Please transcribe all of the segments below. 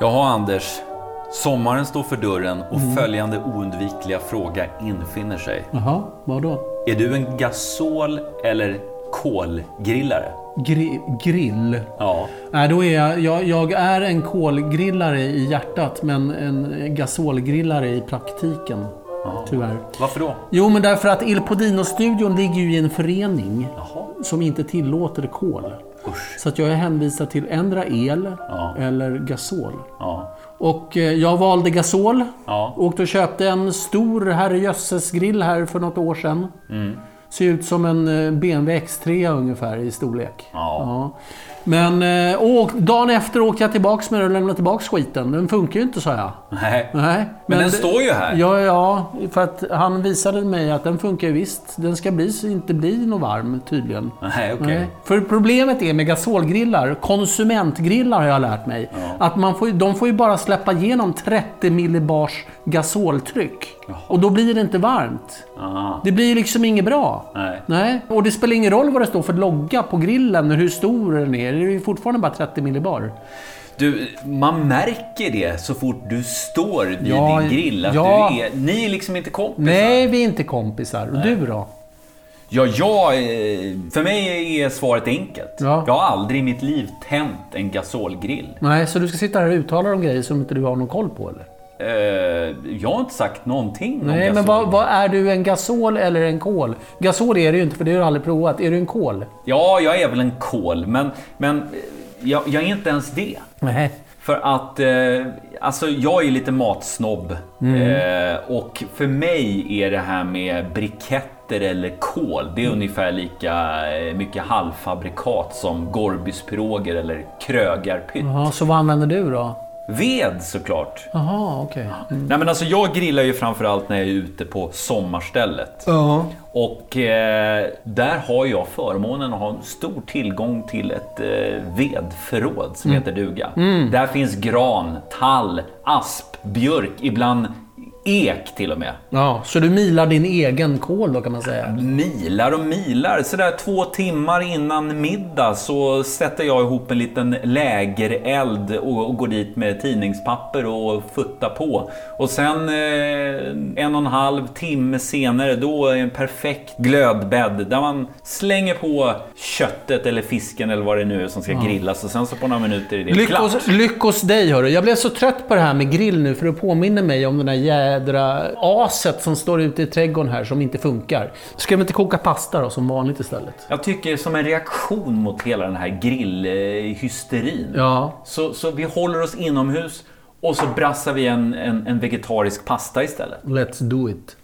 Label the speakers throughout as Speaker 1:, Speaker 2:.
Speaker 1: Jaha Anders, sommaren står för dörren och
Speaker 2: Mm.
Speaker 1: följande oundvikliga fråga infinner sig.
Speaker 2: Jaha, vadå?
Speaker 1: Är du en gasol eller kolgrillare?
Speaker 2: Gri grill?
Speaker 1: Ja,
Speaker 2: Nej, då är jag, jag, jag är en kolgrillare i hjärtat men en gasolgrillare i praktiken. Tyvärr.
Speaker 1: varför då?
Speaker 2: Jo, men därför att Il Podino-studion ligger ju i en förening
Speaker 1: Jaha,
Speaker 2: som inte tillåter kol.
Speaker 1: usch.
Speaker 2: Så att jag är hänvisad till ändra el
Speaker 1: Ja.
Speaker 2: eller gasol.
Speaker 1: Ja,
Speaker 2: Och eh, jag valde gasol.
Speaker 1: ja.
Speaker 2: Åkte och köpte en stor herrejösses grill här för något år sedan.
Speaker 1: Mm.
Speaker 2: Ser ut som en eh, BMW X3 ungefär i storlek.
Speaker 1: Ja.
Speaker 2: Men eh, och dagen efter åkte jag tillbaks med den och lämnade tillbaks skiten. Den funkar ju inte sa jag.
Speaker 1: Nej. Men,
Speaker 2: Nej,
Speaker 1: den
Speaker 2: det-
Speaker 1: står ju här.
Speaker 2: Ja, ja, för att han visade mig att den funkar ju visst. Den ska bli, så inte bli något varm tydligen.
Speaker 1: Nej, okej.
Speaker 2: Nej. För problemet är med gasolgrillar, konsumentgrillar har jag lärt mig, att man får, ju- de får ju bara släppa igenom 30 millibars gasoltryck. Och då blir det inte varmt.
Speaker 1: Ah,
Speaker 2: Det blir liksom inget bra.
Speaker 1: nej.
Speaker 2: Och det spelar ingen roll vad det står för logga på grillen och hur stor den är. Det är ju fortfarande bara 30 millibar.
Speaker 1: Du, man märker det så fort du står vid
Speaker 2: Ja,
Speaker 1: din grill. Att
Speaker 2: ja.
Speaker 1: du är, ni är liksom inte kompisar.
Speaker 2: Nej, vi är inte kompisar. Och du då?
Speaker 1: Ja, jag, eh, för mig är svaret enkelt.
Speaker 2: Ja.
Speaker 1: Jag har aldrig i mitt liv tänt en gasolgrill.
Speaker 2: Nej, så du ska sitta här och uttala om grejer som inte du har någon koll på eller?
Speaker 1: Eh, jag har inte sagt någonting om
Speaker 2: Nej,
Speaker 1: gasol.
Speaker 2: men vad, vad är du? En gasol eller en kol? Gasol är det ju inte för det har du aldrig provat. Är du en kol?
Speaker 1: Ja, jag är väl en kol, men, men eh, jag, jag är inte ens det.
Speaker 2: Nej.
Speaker 1: För att, eh, alltså jag är lite matsnobb.
Speaker 2: Mm.
Speaker 1: Eh, och för mig är det här med briketter eller kol,
Speaker 2: Mm.
Speaker 1: det är ungefär lika eh, mycket halvfabrikat som Gorbyspiroger eller krögarpytt.
Speaker 2: Jaha, så vad använder du då?
Speaker 1: Ved såklart.
Speaker 2: Jaha, okej.
Speaker 1: Nej men alltså jag grillar ju framförallt när jag är ute på sommarstället.
Speaker 2: Ja.
Speaker 1: Och eh, där har jag förmånen att ha en stor tillgång till ett eh, vedförråd som heter duga. Där finns gran, tall, asp, björk, ibland ek till och med.
Speaker 2: ja. Så du milar din egen kol då kan man säga?
Speaker 1: Milar och milar. Sådär två timmar innan middag så sätter jag ihop en liten lägereld och, och går dit med tidningspapper och futtar på. Och sen eh, en och en halv timme senare då är en perfekt glödbädd där man slänger på köttet eller fisken eller vad det nu är som ska grillas och sen så på några minuter är det klart.
Speaker 2: Lyckos, lyckos dig hörru. Jag blev så trött på det här med grill nu för det påminner mig om den där jädra aset som står ute i trädgården här som inte funkar. Ska vi inte koka pasta då som vanligt istället?
Speaker 1: Jag tycker som en reaktion mot hela den här grillhysterin
Speaker 2: Ja.
Speaker 1: Så, så vi håller oss inomhus och så brassar vi en, en, en vegetarisk pasta istället.
Speaker 2: Let's do it.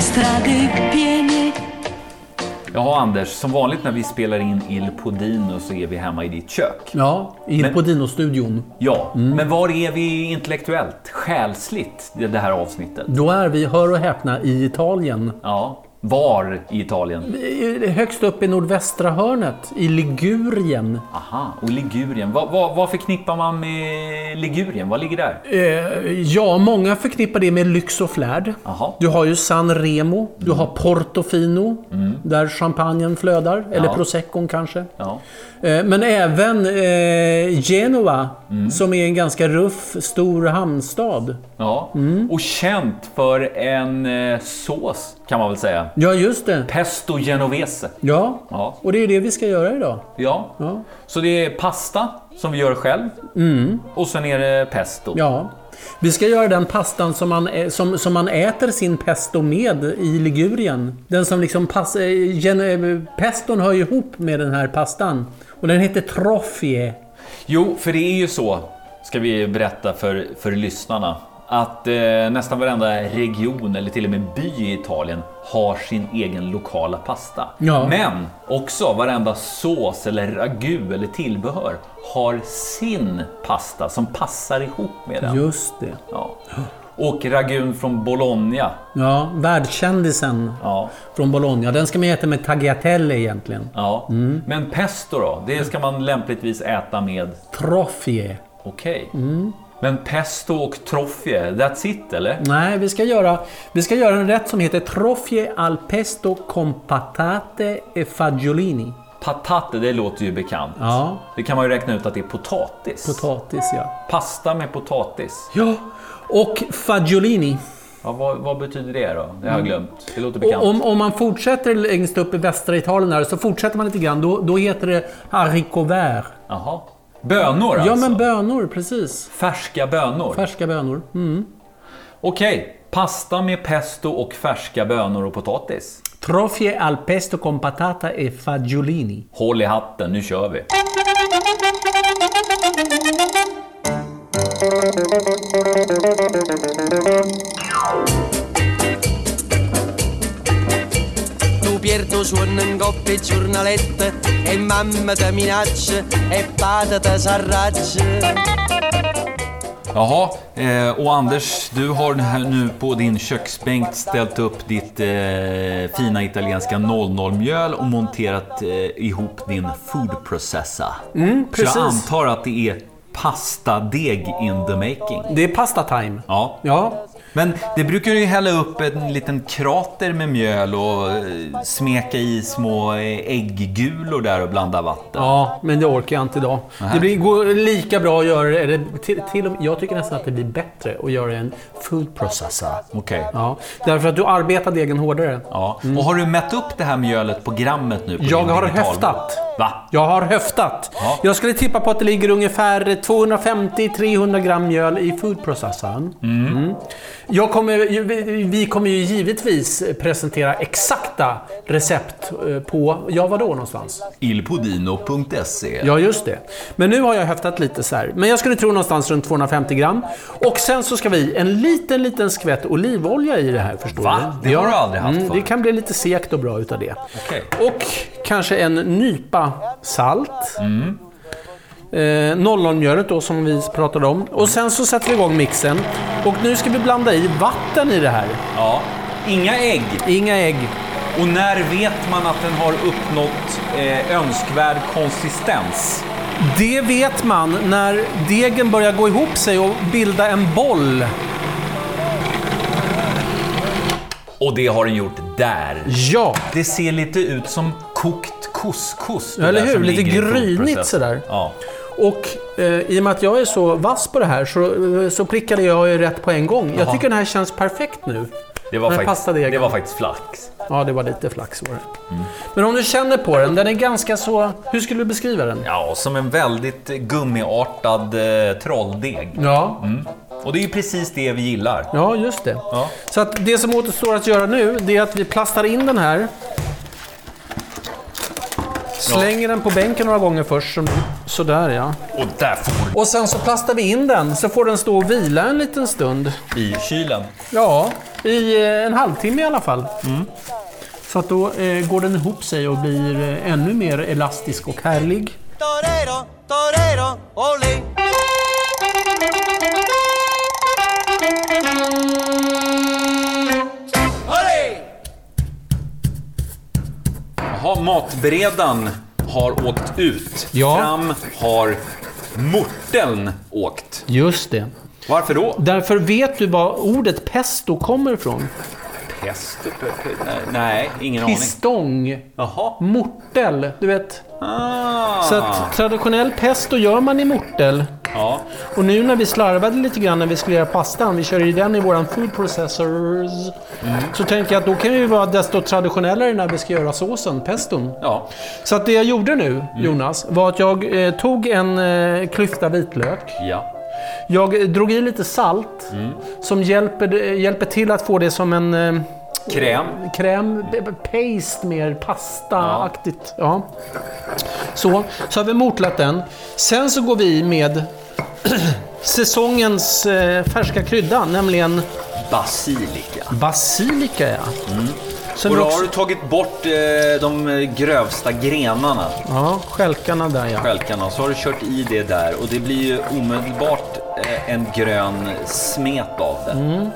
Speaker 3: Strade piene
Speaker 1: Jaha Anders, som vanligt när vi spelar in Il Podino så är vi hemma i ditt kök.
Speaker 2: Ja, in
Speaker 1: Men-
Speaker 2: på Dino-studion.
Speaker 1: Ja, men var är vi intellektuellt, själsligt, i det här avsnittet?
Speaker 2: Då är vi, hör och häpna, i Italien.
Speaker 1: Ja, var i Italien?
Speaker 2: I- Högst upp i nordvästra hörnet, i Ligurien.
Speaker 1: Aha, och Ligurien. Vad, vad, vad förknippar man med Ligurien? Vad ligger där?
Speaker 2: Eh, ja, många förknippar det med lyx och flärd.
Speaker 1: Aha.
Speaker 2: Du har ju San Remo,
Speaker 1: Mm.
Speaker 2: du har Portofino, där champagnen flödar. Eller
Speaker 1: Ja.
Speaker 2: proseccon kanske.
Speaker 1: Ja.
Speaker 2: Eh, Men även eh, Genova,
Speaker 1: Mm.
Speaker 2: som är en ganska ruff, stor hamnstad.
Speaker 1: ja. Och känt för en eh, sås, kan man väl säga.
Speaker 2: Ja, just det.
Speaker 1: Pesto genovese.
Speaker 2: Ja.
Speaker 1: Ja.
Speaker 2: och det är det vi ska göra idag.
Speaker 1: Ja.
Speaker 2: Ja. Mm.
Speaker 1: Så det är pasta som vi gör själv. Och sen är det pesto.
Speaker 2: Ja. Vi ska göra den pastan som man, ä- som, som man äter sin pesto med i Ligurien. Den som liksom pass, eh, gen, eh, peston hör ju ihop med den här pastan. Och den heter trofie.
Speaker 1: Jo, för det är ju så, ska vi berätta för, för lyssnarna, att eh, nästan varenda region eller till och med by i Italien har sin egen lokala pasta.
Speaker 2: Ja.
Speaker 1: Men också varenda sås eller ragu eller tillbehör har sin pasta som passar ihop med den.
Speaker 2: Just det.
Speaker 1: Ja. Och ragun från Bologna.
Speaker 2: Ja, världskändisen
Speaker 1: Ja.
Speaker 2: från Bologna. Den ska man äta med tagliatelle egentligen.
Speaker 1: Ja.
Speaker 2: Mm.
Speaker 1: Men pesto då? Det ska man lämpligtvis äta med...
Speaker 2: Trofie.
Speaker 1: Okej.
Speaker 2: Mm.
Speaker 1: Men pesto och troffie, that's it eller?
Speaker 2: Nej, vi ska, göra, vi ska göra en rätt som heter Trofie al pesto con patate e fagiolini.
Speaker 1: Patate, det låter ju bekant.
Speaker 2: Ja,
Speaker 1: Det kan man ju räkna ut att det är potatis.
Speaker 2: potatis ja.
Speaker 1: Pasta med potatis.
Speaker 2: Ja, och fagiolini.
Speaker 1: Ja, vad, vad betyder det då? Det har jag glömt. Det låter bekant.
Speaker 2: Mm. Och om, om man fortsätter längst upp i västra Italien här, så fortsätter man lite grann. Då, då heter det haricot vert.
Speaker 1: Jaha. Bönor alltså?
Speaker 2: Ja, men bönor, precis.
Speaker 1: Färska bönor?
Speaker 2: Färska bönor. Mm.
Speaker 1: Okej. Pasta med pesto och färska bönor och potatis.
Speaker 2: Trofie al pesto con patata e fagiolini.
Speaker 1: Håll i hatten, nu kör vi.
Speaker 3: Tu Pierto suona in coppia e giornalette E mamma te minaccia E patata s'arraccia
Speaker 1: Jaha, eh, och Anders, du har här nu på din köksbänk ställt upp ditt eh, fina italienska 00-mjöl och monterat eh, ihop din food processor. Så jag
Speaker 2: Mm, precis.
Speaker 1: antar att det är pastadeg in the making.
Speaker 2: Det är pasta time.
Speaker 1: Ja.
Speaker 2: Ja,
Speaker 1: Men det brukar ju hälla upp en liten krater med mjöl och eh, smeka i små eh, ägggulor där och blanda vatten.
Speaker 2: ja men det orkar jag inte idag. Det blir, går lika bra att göra det. Eller till, till och, med- jag tycker nästan att det blir bättre att göra en food processor.
Speaker 1: Okej.
Speaker 2: Ja, därför att du arbetar degen hårdare.
Speaker 1: Ja. Och har du mätt upp det här mjölet på grammet nu? På
Speaker 2: Jag
Speaker 1: din
Speaker 2: har
Speaker 1: digital-
Speaker 2: höftat.
Speaker 1: Va?
Speaker 2: Jag har höftat.
Speaker 1: Ja.
Speaker 2: Jag skulle tippa på att det ligger ungefär 250-300 gram mjöl i food processorn. Mm. Jag kommer, ju- vi- vi kommer ju givetvis presentera exakta recept eh, på, ja vadå någonstans?
Speaker 1: Ilpodino.se
Speaker 2: Ja, just det. Men nu har jag höftat lite så här. Men jag skulle tro någonstans runt 250 gram. Och sen så ska vi en liten, liten skvätt olivolja i det här, förstår
Speaker 1: Va?
Speaker 2: du?
Speaker 1: Det har du aldrig haft
Speaker 2: mm, Det
Speaker 1: förut.
Speaker 2: kan bli lite sekt och bra utav det.
Speaker 1: Okej.
Speaker 2: Och kanske en nypa salt.
Speaker 1: Mm.
Speaker 2: Eh, Nollonmjölet då som vi pratade om. Och sen så sätter vi igång mixen. Och nu ska vi blanda i vatten i det här.
Speaker 1: Ja. Inga ägg.
Speaker 2: Inga ägg.
Speaker 1: Och när vet man att den har uppnått eh, önskvärd konsistens?
Speaker 2: Det vet man när degen börjar gå ihop sig och bilda en boll.
Speaker 1: Och det har den gjort där.
Speaker 2: Ja!
Speaker 1: Det ser lite ut som kokt couscous. det
Speaker 2: Ja, eller
Speaker 1: där
Speaker 2: hur?
Speaker 1: som
Speaker 2: Lite
Speaker 1: ligger i foodprocessen.
Speaker 2: grynigt sådär.
Speaker 1: Ja.
Speaker 2: Och eh, i och med att jag är så vass på det här så, eh, så prickade jag ju rätt på en gång. Jag
Speaker 1: Jaha.
Speaker 2: tycker den här känns perfekt nu.
Speaker 1: Det var,
Speaker 2: Men
Speaker 1: faktiskt,
Speaker 2: pastadegen.
Speaker 1: det var faktiskt Mm. flax.
Speaker 2: Ja, det var lite flax var det. Men om du känner på den, den är ganska så... Hur skulle du beskriva den?
Speaker 1: Ja, som en väldigt eh, gummiartad eh, trolldeg.
Speaker 2: Ja,
Speaker 1: Och det är ju precis det vi gillar.
Speaker 2: ja just det.
Speaker 1: Mm. Ja.
Speaker 2: Så att det som återstår att göra nu, det är att vi plastar in den här. Slänger den på bänken några gånger först. som- Sådär ja.
Speaker 1: Och där får
Speaker 2: Och sen så plastar vi in den, så får den stå och vila en liten stund.
Speaker 1: du i kylen.
Speaker 2: Ja, i eh, en halvtimme i alla fall. Mm. Så att då eh, går den ihop sig och blir eh, ännu mer elastisk och härlig.
Speaker 3: Torero, torero, olé Olé!
Speaker 1: Jaha, matberedaren har åkt ut.
Speaker 2: Ja.
Speaker 1: Fram har morteln åkt.
Speaker 2: Just det.
Speaker 1: Varför då?
Speaker 2: Därför vet du var ordet pesto kommer ifrån?
Speaker 1: Pest? Nej, ingen aning.
Speaker 2: Pistång.
Speaker 1: Jaha.
Speaker 2: Mortel, du vet.
Speaker 1: Ah.
Speaker 2: Så att traditionell pesto gör man i mortel.
Speaker 1: Ja.
Speaker 2: Och nu när vi slarvade lite grann när vi skulle göra pastan, vi körde ju den i våran food processors. Så tänker jag att då kan vi vara desto traditionellare när vi ska göra såsen, peston.
Speaker 1: ja.
Speaker 2: Så att det jag gjorde nu,
Speaker 1: Mm.
Speaker 2: Jonas, var att jag eh, tog en eh, klyfta vitlök.
Speaker 1: Ja.
Speaker 2: Jag eh, drog i lite salt
Speaker 1: Mm.
Speaker 2: som hjälper, eh, hjälper till att få det som en eh,
Speaker 1: Kräm.
Speaker 2: kräm, b- b- paste mer pastaaktigt. Ja. Så, så har vi mortlat den. Sen så går vi i med säsongens eh, färska krydda, nämligen
Speaker 1: Basilika. Mm.
Speaker 2: basilika. Ja. Sen
Speaker 1: Och
Speaker 2: vi
Speaker 1: då
Speaker 2: också-
Speaker 1: har du tagit bort eh, de grövsta grenarna,
Speaker 2: Ja, skälkarna där ja.
Speaker 1: stjälkarna, så har du kört i det där och det blir ju omedelbart eh, en grön smet av det.
Speaker 2: Mm.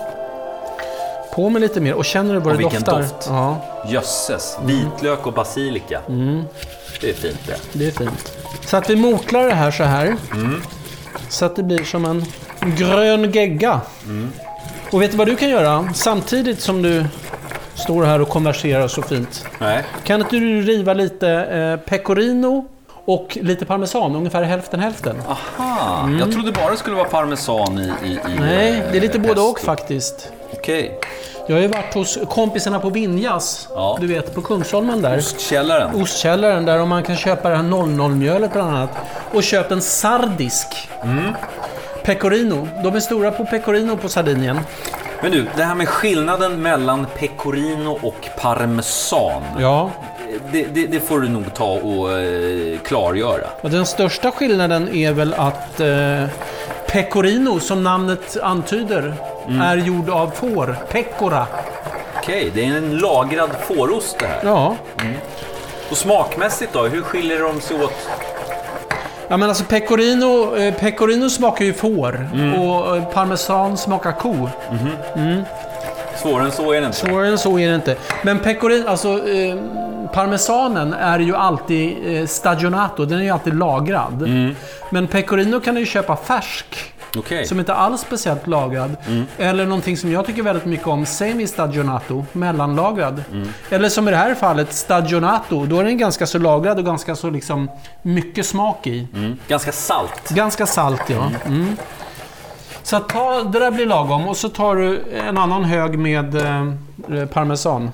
Speaker 2: På med lite mer och känner du vad
Speaker 1: Och
Speaker 2: det
Speaker 1: vilken
Speaker 2: doftar?
Speaker 1: doft.
Speaker 2: Ja,
Speaker 1: Jösses, vitlök och basilika.
Speaker 2: Mm.
Speaker 1: Det är fint det.
Speaker 2: det är fint. Så att vi motlar det här så här. Så att det blir som en grön gegga. Och vet du vad du kan göra? Samtidigt som du står här och konverserar så fint.
Speaker 1: Nej.
Speaker 2: Kan inte du riva lite eh, pecorino och lite parmesan? Ungefär hälften hälften.
Speaker 1: Aha, jag trodde bara det skulle vara parmesan i... i, i
Speaker 2: Mm. Nej, det är lite
Speaker 1: eh,
Speaker 2: både och
Speaker 1: pesto.
Speaker 2: faktiskt.
Speaker 1: Okej,
Speaker 2: Jag har ju varit hos kompisarna på Vinjas,
Speaker 1: Ja.
Speaker 2: du vet på Kungsholmen där.
Speaker 1: ostkällaren.
Speaker 2: Ostkällaren där och man kan köpa det här 00-mjölet bland annat. Och köpt en sardisk. Pecorino. De är stora på pecorino på Sardinien.
Speaker 1: Men du, det här med skillnaden mellan pecorino och parmesan.
Speaker 2: Ja.
Speaker 1: Det, det, det får du nog ta och eh, klargöra.
Speaker 2: Och den största skillnaden är väl att eh, pecorino, som namnet antyder, är gjord av får. Pecora.
Speaker 1: Okej, det är en lagrad fårost det här.
Speaker 2: Ja.
Speaker 1: Och smakmässigt då, hur skiljer de sig åt?
Speaker 2: Ja men alltså pecorino, eh, pecorino smakar ju får och eh, parmesan smakar ko.
Speaker 1: Svårare än så är det inte.
Speaker 2: Svårare än så är det inte. Men pecorino, alltså eh, parmesanen är ju alltid eh, stagionato, den är ju alltid lagrad. Men pecorino kan du ju köpa färsk.
Speaker 1: Okej.
Speaker 2: Som inte alls speciellt lagrad. Eller någonting som jag tycker väldigt mycket om, semi-stagionato, mellanlagrad. Eller som i det här fallet, stagionato. Då är den ganska så lagrad och ganska så liksom mycket smak i.
Speaker 1: Mm. Ganska salt.
Speaker 2: Ganska salt, ja. Mm. Så att ta, det där blir lagom och så tar du en annan hög med eh, parmesan.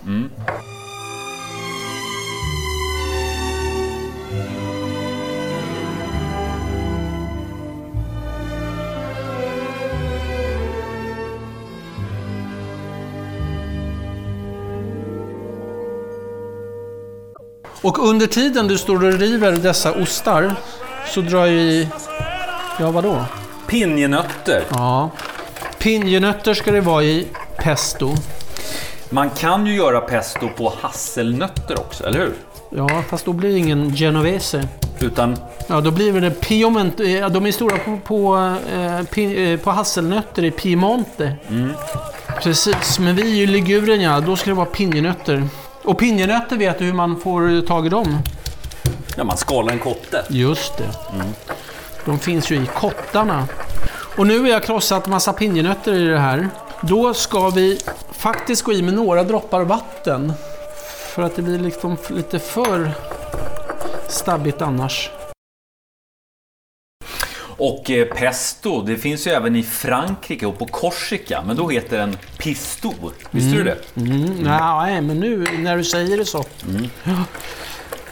Speaker 2: Och under tiden du står och river dessa ostar så drar jag i... Ja, vadå?
Speaker 1: Pinjenötter.
Speaker 2: Ja. Pinjenötter ska det vara i pesto.
Speaker 1: Man kan ju göra pesto på hasselnötter också, eller hur?
Speaker 2: Ja, fast då blir det ingen genovese.
Speaker 1: Utan
Speaker 2: Ja, då blir det piemonte. ja, De är stora på, på, eh, pi- eh, på hasselnötter i Piemonte. Precis, men vi är ju Ligurien ja. Då ska det vara pinjenötter. Och pinjenötter vet du hur man får tag i dem?
Speaker 1: när man skalar en kotte.
Speaker 2: Just det. De finns ju i kottarna. Och nu har jag krossat massa pinjenötter i det här. Då ska vi faktiskt gå i med några droppar vatten. För att det blir liksom f- lite för stabbigt annars.
Speaker 1: Och eh, pesto, det finns ju även i Frankrike och på Korsika, men då heter den pisto. Visste du det?
Speaker 2: Mm. Nej, men nu när du säger det så.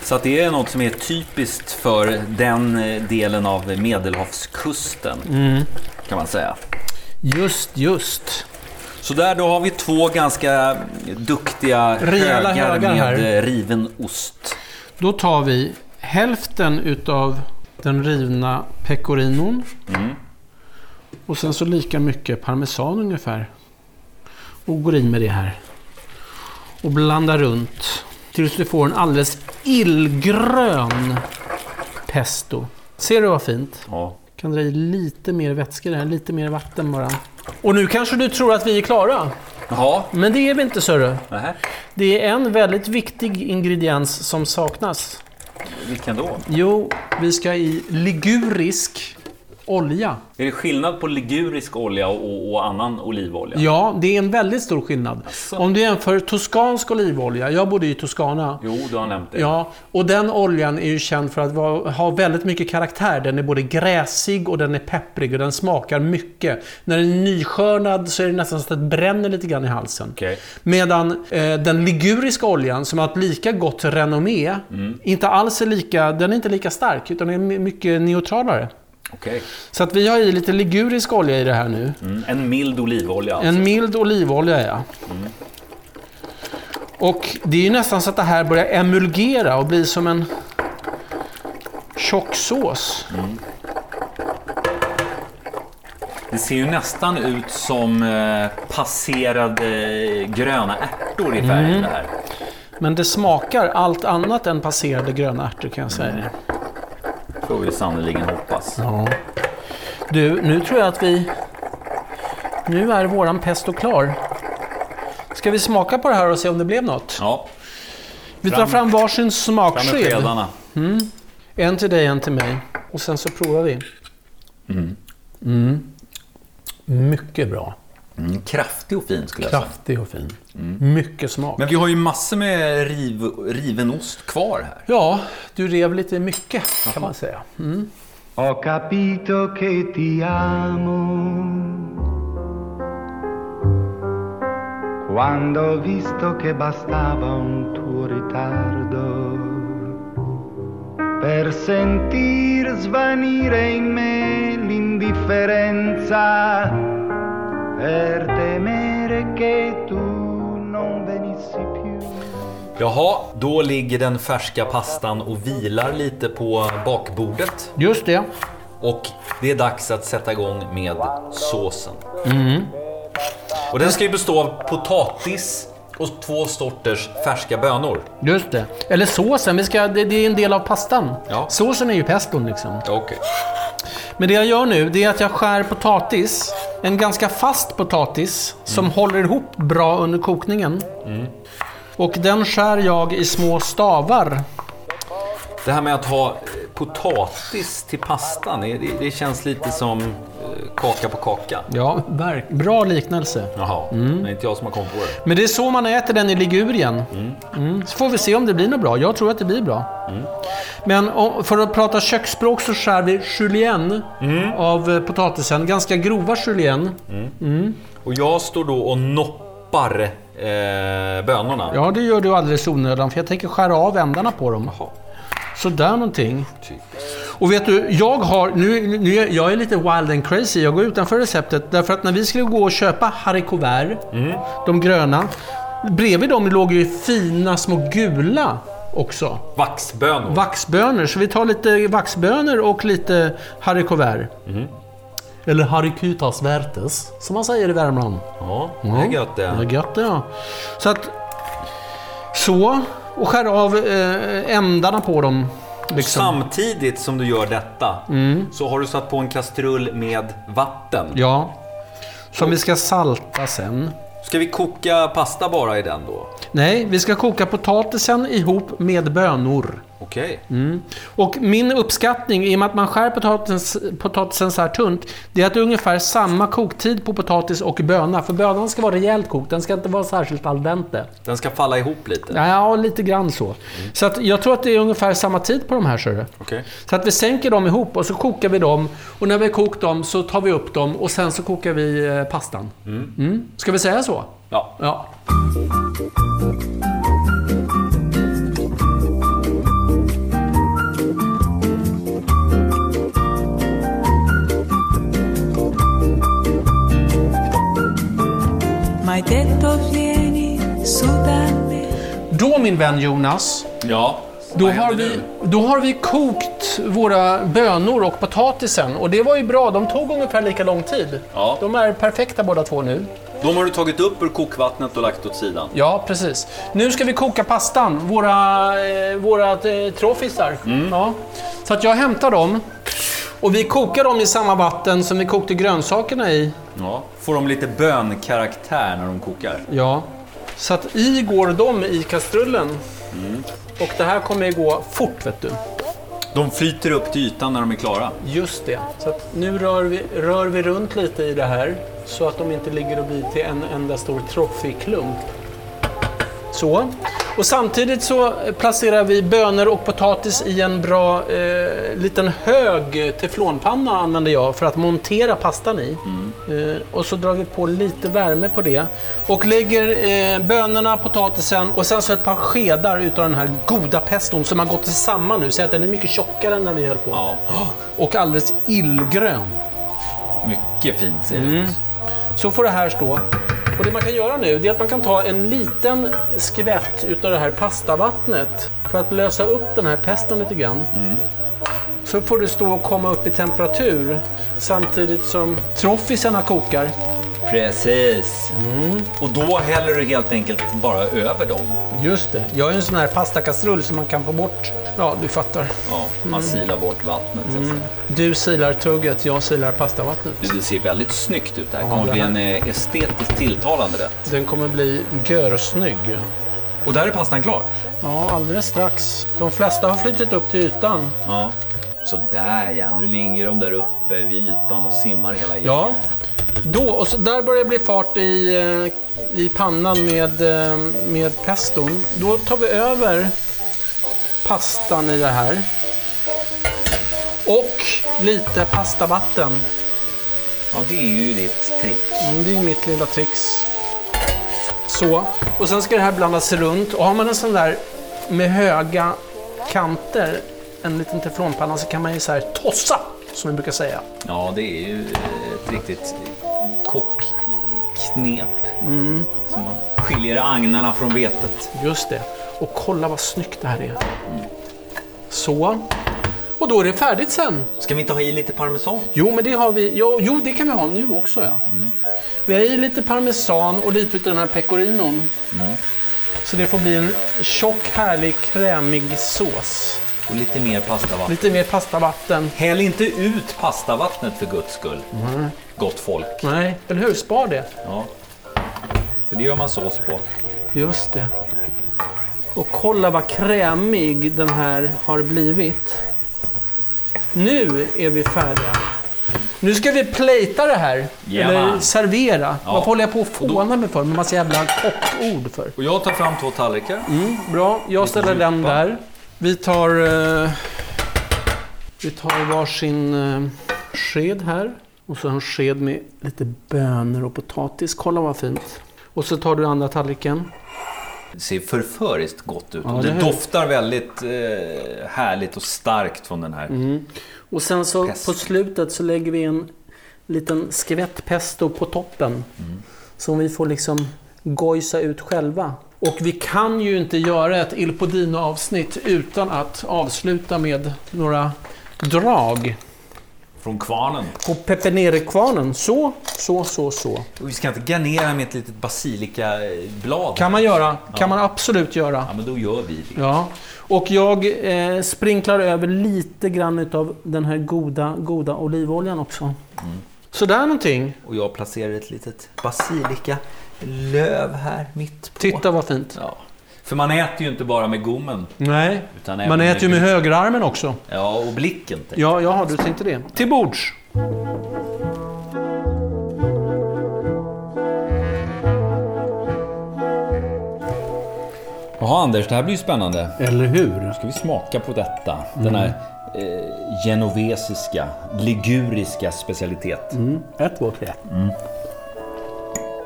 Speaker 1: Så att det är något som är typiskt för den eh, delen av Medelhavskusten,
Speaker 2: Mm.
Speaker 1: kan man säga.
Speaker 2: Just, just.
Speaker 1: Så där då har vi två ganska duktiga
Speaker 2: Rejäla
Speaker 1: högar
Speaker 2: högar
Speaker 1: med
Speaker 2: här.
Speaker 1: eh, riven ost.
Speaker 2: Då tar vi hälften utav den rivna pecorinon. Och sen så lika mycket parmesan ungefär. Och går i med det här. Och blandar runt. Tills du får en alldeles illgrön pesto. Ser du vad fint?
Speaker 1: Ja.
Speaker 2: Kan dra i lite mer vätska i det här, lite mer vatten bara. Och nu kanske du tror att vi är klara.
Speaker 1: Jaha,
Speaker 2: Men det är vi inte Sörre.
Speaker 1: nähä.
Speaker 2: Det är en väldigt viktig ingrediens som saknas.
Speaker 1: vilken då?
Speaker 2: Jo, vi ska i ligurisk olja.
Speaker 1: Är det skillnad på ligurisk olja och, och annan olivolja?
Speaker 2: Ja, det är en väldigt stor skillnad. Om du jämför toskansk olivolja, jag bodde ju i Toscana.
Speaker 1: Jo, du har nämnt det.
Speaker 2: Ja, och den oljan är ju känd för att vara, ha väldigt mycket karaktär. Den är både gräsig och den är pepprig och den smakar mycket. När den är nyskörnad så är det nästan så att det bränner lite grann i halsen.
Speaker 1: Okej.
Speaker 2: Medan eh, den liguriska oljan, som har ett lika gott renommé, inte alls är lika, den är inte lika stark utan den är my- mycket neutralare.
Speaker 1: Okej.
Speaker 2: Så att vi har i lite ligurisk olja i det här nu.
Speaker 1: Mm. En mild olivolja alltså.
Speaker 2: En mild olivolja, ja.
Speaker 1: Mm.
Speaker 2: Och det är ju nästan så att det här börjar emulgera och bli som en tjock sås.
Speaker 1: Mm. Det ser ju nästan ut som eh, passerade gröna ärtor eh, i färgen det här.
Speaker 2: Men det smakar allt annat än passerade gröna ärtor kan jag
Speaker 1: Mm.
Speaker 2: säga.
Speaker 1: Får vi sannerligen hoppas.
Speaker 2: Ja. Du, nu tror jag att vi... Nu är våran pesto klar. Ska vi smaka på det här och se om det blev något?
Speaker 1: Ja,
Speaker 2: Vi tar fram varsin
Speaker 1: fram med
Speaker 2: smaksked.
Speaker 1: skedarna.
Speaker 2: En till dig, en till mig. Och sen så provar vi. Mm.
Speaker 4: Mycket bra.
Speaker 1: Mm, kraftig och fin skulle jag säga.
Speaker 4: Kraftig och fin.
Speaker 2: Mycket smak.
Speaker 1: Men vi har ju massor med riv, riven ost kvar här.
Speaker 2: Ja, du rev lite mycket kan man säga.
Speaker 5: Ho capito che ti amo. Quando ho visto che bastava un tuo ritardo per sentir svanire in me l'indifferenza, per temere che tu non venissi più.
Speaker 1: Jaha, då ligger den färska pastan och vilar lite på bakbordet.
Speaker 2: Just det.
Speaker 1: Och det är dags att sätta igång med såsen. Och den ska ju bestå av potatis och två sorters färska bönor.
Speaker 2: Just det. Eller såsen, vi ska, det, det är en del av pastan.
Speaker 1: Ja.
Speaker 2: Såsen är ju peston liksom.
Speaker 1: Okej.
Speaker 2: Men det jag gör nu, det är att jag skär potatis. En ganska fast potatis som håller ihop bra under kokningen. Och den skär jag i små stavar.
Speaker 1: Det här med att ha eh, potatis till pastan, det, det- det känns lite som eh, kaka på kaka.
Speaker 2: Ja, verk. Bra liknelse.
Speaker 1: Jaha,
Speaker 2: Mm.
Speaker 1: det är inte jag som har kommit på det.
Speaker 2: Men det är så man äter den i Ligurien. Mm. Så får vi se om det blir något bra. Jag tror att det blir bra. Men och, för att prata köksspråk så skär vi julienne av eh, potatisen. Ganska grova julienne.
Speaker 1: Och jag står då och noppar eh, bönorna.
Speaker 2: Ja, det gör du alldeles onödan för jag tänker skära av ändarna på dem. Sådär någonting. Och vet du, jag har... Nu, nu, jag är lite wild and crazy. Jag går utanför receptet. Därför att när vi skulle gå och köpa haricots verts, de gröna. Bredvid dem låg ju fina små gula också.
Speaker 1: Vaxbönor.
Speaker 2: Vaxbönor. Så vi tar lite vaxbönor och lite haricots verts. Eller haricutas vertes, som man säger i Värmland.
Speaker 1: Ja, det är gött det.
Speaker 2: Ja, gött det ja. Så att... Så. Och skär av eh, ändarna på dem. Liksom.
Speaker 1: Samtidigt som du gör detta så har du satt på en kastrull med vatten.
Speaker 2: Mm. Ja. Som vi ska salta sen.
Speaker 1: Ska vi koka pasta bara i den då?
Speaker 2: Nej, vi ska koka potatisen ihop med bönor.
Speaker 1: Okej.
Speaker 2: Mm. Och min uppskattning, i och med att man skär potatis, potatisen så här tunt, det är att det är ungefär samma koktid på potatis och böna. För bönan ska vara rejält kokt, den ska inte vara särskilt al dente.
Speaker 1: Den ska falla ihop lite.
Speaker 2: Ja, lite grann så. Så att jag tror att det är ungefär samma tid på de här, ser du.
Speaker 1: Okej.
Speaker 2: Så att vi sänker dem ihop och så kokar vi dem. Och när vi har kokt dem så tar vi upp dem och sen så kokar vi eh, pastan. Mm. Ska vi säga så?
Speaker 1: Ja.
Speaker 2: Ja.
Speaker 6: Mai detto vieni su da me
Speaker 2: Då min vän Jonas,
Speaker 1: Ja.
Speaker 2: Då
Speaker 1: Vad
Speaker 2: har,
Speaker 1: händer
Speaker 2: vi,
Speaker 1: nu?
Speaker 2: då har vi kokt våra bönor och potatisen och det var ju bra, de tog ungefär lika lång tid.
Speaker 1: Ja.
Speaker 2: De är perfekta båda två nu.
Speaker 1: De har du tagit upp ur kokvattnet och lagt åt sidan.
Speaker 2: Ja, precis. Nu ska vi koka pastan, våra, eh, våra eh, trofisar.
Speaker 1: Mm.
Speaker 2: Ja. Så att jag hämtar dem och vi kokar dem i samma vatten som vi kokte grönsakerna i.
Speaker 1: Ja. Får de lite bönkaraktär när de kokar?
Speaker 2: Ja. Så att i går de i kastrullen.
Speaker 1: Mm.
Speaker 2: Och det här kommer ju gå fort vet du.
Speaker 1: De flyter upp till ytan när de är klara.
Speaker 2: Just det. Så att nu rör vi, rör vi runt lite i det här så att de inte ligger och blir till en enda stor troffiklump. Så. Och samtidigt så placerar vi bönor och potatis i en bra eh, liten hög teflonpanna använder jag för att montera pastan i. Eh, och så drar vi på lite värme på det. Och lägger eh, bönorna, potatisen och sen så ett par skedar utav den här goda peston som har gått samman nu. Så att den är mycket tjockare än när vi höll på.
Speaker 1: Ja.
Speaker 2: Och alldeles illgrön.
Speaker 1: Mycket fint ser det ut.
Speaker 2: Så får det här stå. Och det man kan göra nu det är att man kan ta en liten skvätt utav det här pastavattnet för att lösa upp den här pesten lite grann. Så får det stå och komma upp i temperatur samtidigt som troffisarna kokar.
Speaker 1: Precis. Och då häller du helt enkelt bara över dem.
Speaker 2: Just det. Jag har ju en sån här pastakastrull som man kan få bort. Ja, du fattar.
Speaker 1: Ja, man silar bort vattnet. så att säga.
Speaker 2: Du silar tugget, jag silar pastavattnet.
Speaker 1: Du, Det ser väldigt snyggt ut. Det här
Speaker 2: Ja,
Speaker 1: kommer
Speaker 2: det
Speaker 1: bli
Speaker 2: här-
Speaker 1: en eh, estetiskt tilltalande rätt.
Speaker 2: Den kommer bli görsnygg.
Speaker 1: Och där är pastan klar.
Speaker 2: Ja, alldeles strax. De flesta har flyttat upp till ytan.
Speaker 1: Ja. Så där ja, nu ligger de där uppe vid ytan och simmar hela gänget.
Speaker 2: Ja. Då, och så där börjar det bli fart i, eh, i pannan med, eh, med peston. Då tar vi över pastan i det här. Och lite pastavatten.
Speaker 1: ja, det är ju ditt trick.
Speaker 2: Mm, Det är mitt lilla trix. Så. Och sen ska det här blandas runt. Och har man en sån där med höga kanter, en liten teflonpanna, så kan man ju så här tossa, som vi brukar säga.
Speaker 1: Ja, det är ju eh, ett riktigt kockknep. Som man skiljer agnarna från vetet.
Speaker 2: Just det. Och kolla vad snyggt det här är. Så. Och då är det färdigt sen.
Speaker 1: Ska vi inte ha i lite parmesan?
Speaker 2: Jo, men det har vi. Jo, jo det kan vi ha nu också. Ja. Vi har i lite parmesan och lite utav den här pecorinon. Mm. Så det får bli en tjock, härlig, krämig sås.
Speaker 1: Och lite mer pastavatten.
Speaker 2: Lite mer pastavatten.
Speaker 1: Häll inte ut pastavattnet för guds skull. Gott folk.
Speaker 2: Nej, eller hur? Spar det.
Speaker 1: Ja. För det gör man sås på.
Speaker 2: Just det. Och kolla vad krämig den här har blivit. Nu är vi färdiga. Nu ska vi plejta det här. Eller
Speaker 1: Jajamän.
Speaker 2: servera.
Speaker 1: Ja.
Speaker 2: Varför håller jag på att fåna mig för med massa jävla kockord för?
Speaker 1: Och jag tar fram två tallrikar.
Speaker 2: Bra, jag ställer den
Speaker 1: djupa.
Speaker 2: där. Vi tar... Eh, vi tar varsin eh, sked här. Och så en sked med lite bönor och potatis. Kolla vad fint. Och så tar du andra tallriken.
Speaker 1: Det ser förföriskt gott ut.
Speaker 2: Ja,
Speaker 1: och det,
Speaker 2: det här-
Speaker 1: doftar väldigt eh, härligt och starkt från den här.
Speaker 2: Och sen så
Speaker 1: Pesto.
Speaker 2: på slutet så lägger vi en liten skvätt pesto på toppen. Som vi får liksom gojsa ut själva. Och vi kan ju inte göra ett Il Podino avsnitt utan att avsluta med några drag.
Speaker 1: Från kvarnen.
Speaker 2: På pepenerkvarnen. Så, så, så, så.
Speaker 1: Och vi ska inte garnera med ett litet basilikablad.
Speaker 2: Kan man göra. Kan man absolut göra.
Speaker 1: Ja, men då gör vi det.
Speaker 2: Ja. Och jag eh, sprinklar över lite grann utav den här goda, goda olivoljan också. Sådär någonting.
Speaker 1: Och jag placerar ett litet basilikalöv här mitt på.
Speaker 2: Titta vad fint.
Speaker 1: Ja. För man äter ju inte bara med gommen.
Speaker 2: Nej,
Speaker 1: Utan även
Speaker 2: man äter ju med högerarmen också.
Speaker 1: Ja, och blicken. tänker jag.
Speaker 2: Ja, jaha, du tänkte det. Till bords!
Speaker 1: Jaha Anders, det här blir ju spännande.
Speaker 2: Eller hur?
Speaker 1: ska vi smaka på detta. Den här eh, genovesiska, liguriska specialitet.
Speaker 2: Ett, två, tre.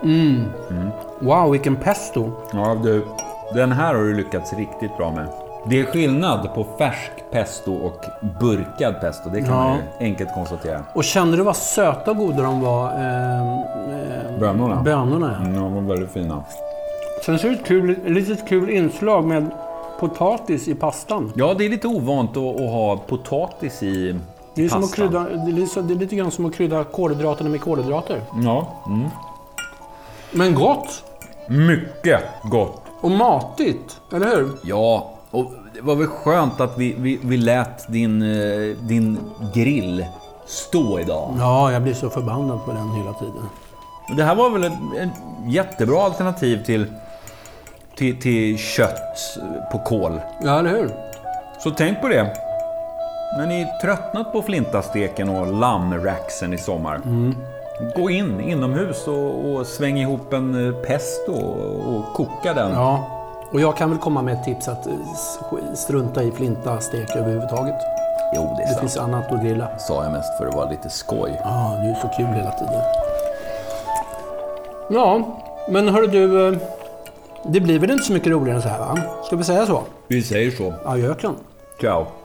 Speaker 2: Mm. Wow, vilken pesto!
Speaker 1: Ja du, den här har du lyckats riktigt bra med. Det är skillnad på färsk pesto och burkad pesto. Det kan
Speaker 2: Ja.
Speaker 1: man ju enkelt konstatera.
Speaker 2: Och kände du vad söta och goda de var, eh, eh,
Speaker 1: Bönorna.
Speaker 2: bönorna?
Speaker 1: Mm, de var väldigt fina.
Speaker 2: Sen så är det ett kul, litet kul inslag med potatis i pastan.
Speaker 1: Ja, det är lite ovant att, att ha potatis i
Speaker 2: Det är, som att
Speaker 1: pastan.
Speaker 2: krydda, det, är, lite- det är lite grann som att krydda kolhydraterna med kolhydrater.
Speaker 1: Ja, mm.
Speaker 2: Men gott!
Speaker 1: mycket gott.
Speaker 2: Och matigt, eller hur?
Speaker 1: Ja, och det var väl skönt att vi, vi, vi lät din, eh, din grill stå idag.
Speaker 2: Ja, jag blir så förbannad på den hela tiden.
Speaker 1: Det här var väl en- en jättebra alternativ till, till, till kött på kol.
Speaker 2: Ja, eller hur?
Speaker 1: Så tänk på det. När ni tröttnat på flintasteken och lammracksen i sommar.
Speaker 2: Mm.
Speaker 1: Gå in inomhus och, och sväng ihop en eh, pesto och, och koka den.
Speaker 2: Ja, och jag kan väl komma med ett tips att eh, sk- strunta i flinta stek överhuvudtaget.
Speaker 1: Jo, det är
Speaker 2: Det
Speaker 1: sant.
Speaker 2: finns annat att grilla.
Speaker 1: Sa jag mest för att vara lite skoj.
Speaker 2: Ja, det är ju så kul hela tiden. Ja, men hörru du. eh, Det blir väl inte så mycket roligare än så här va? Ska vi säga så?
Speaker 1: Vi säger så.
Speaker 2: Adjöken.
Speaker 1: Ciao.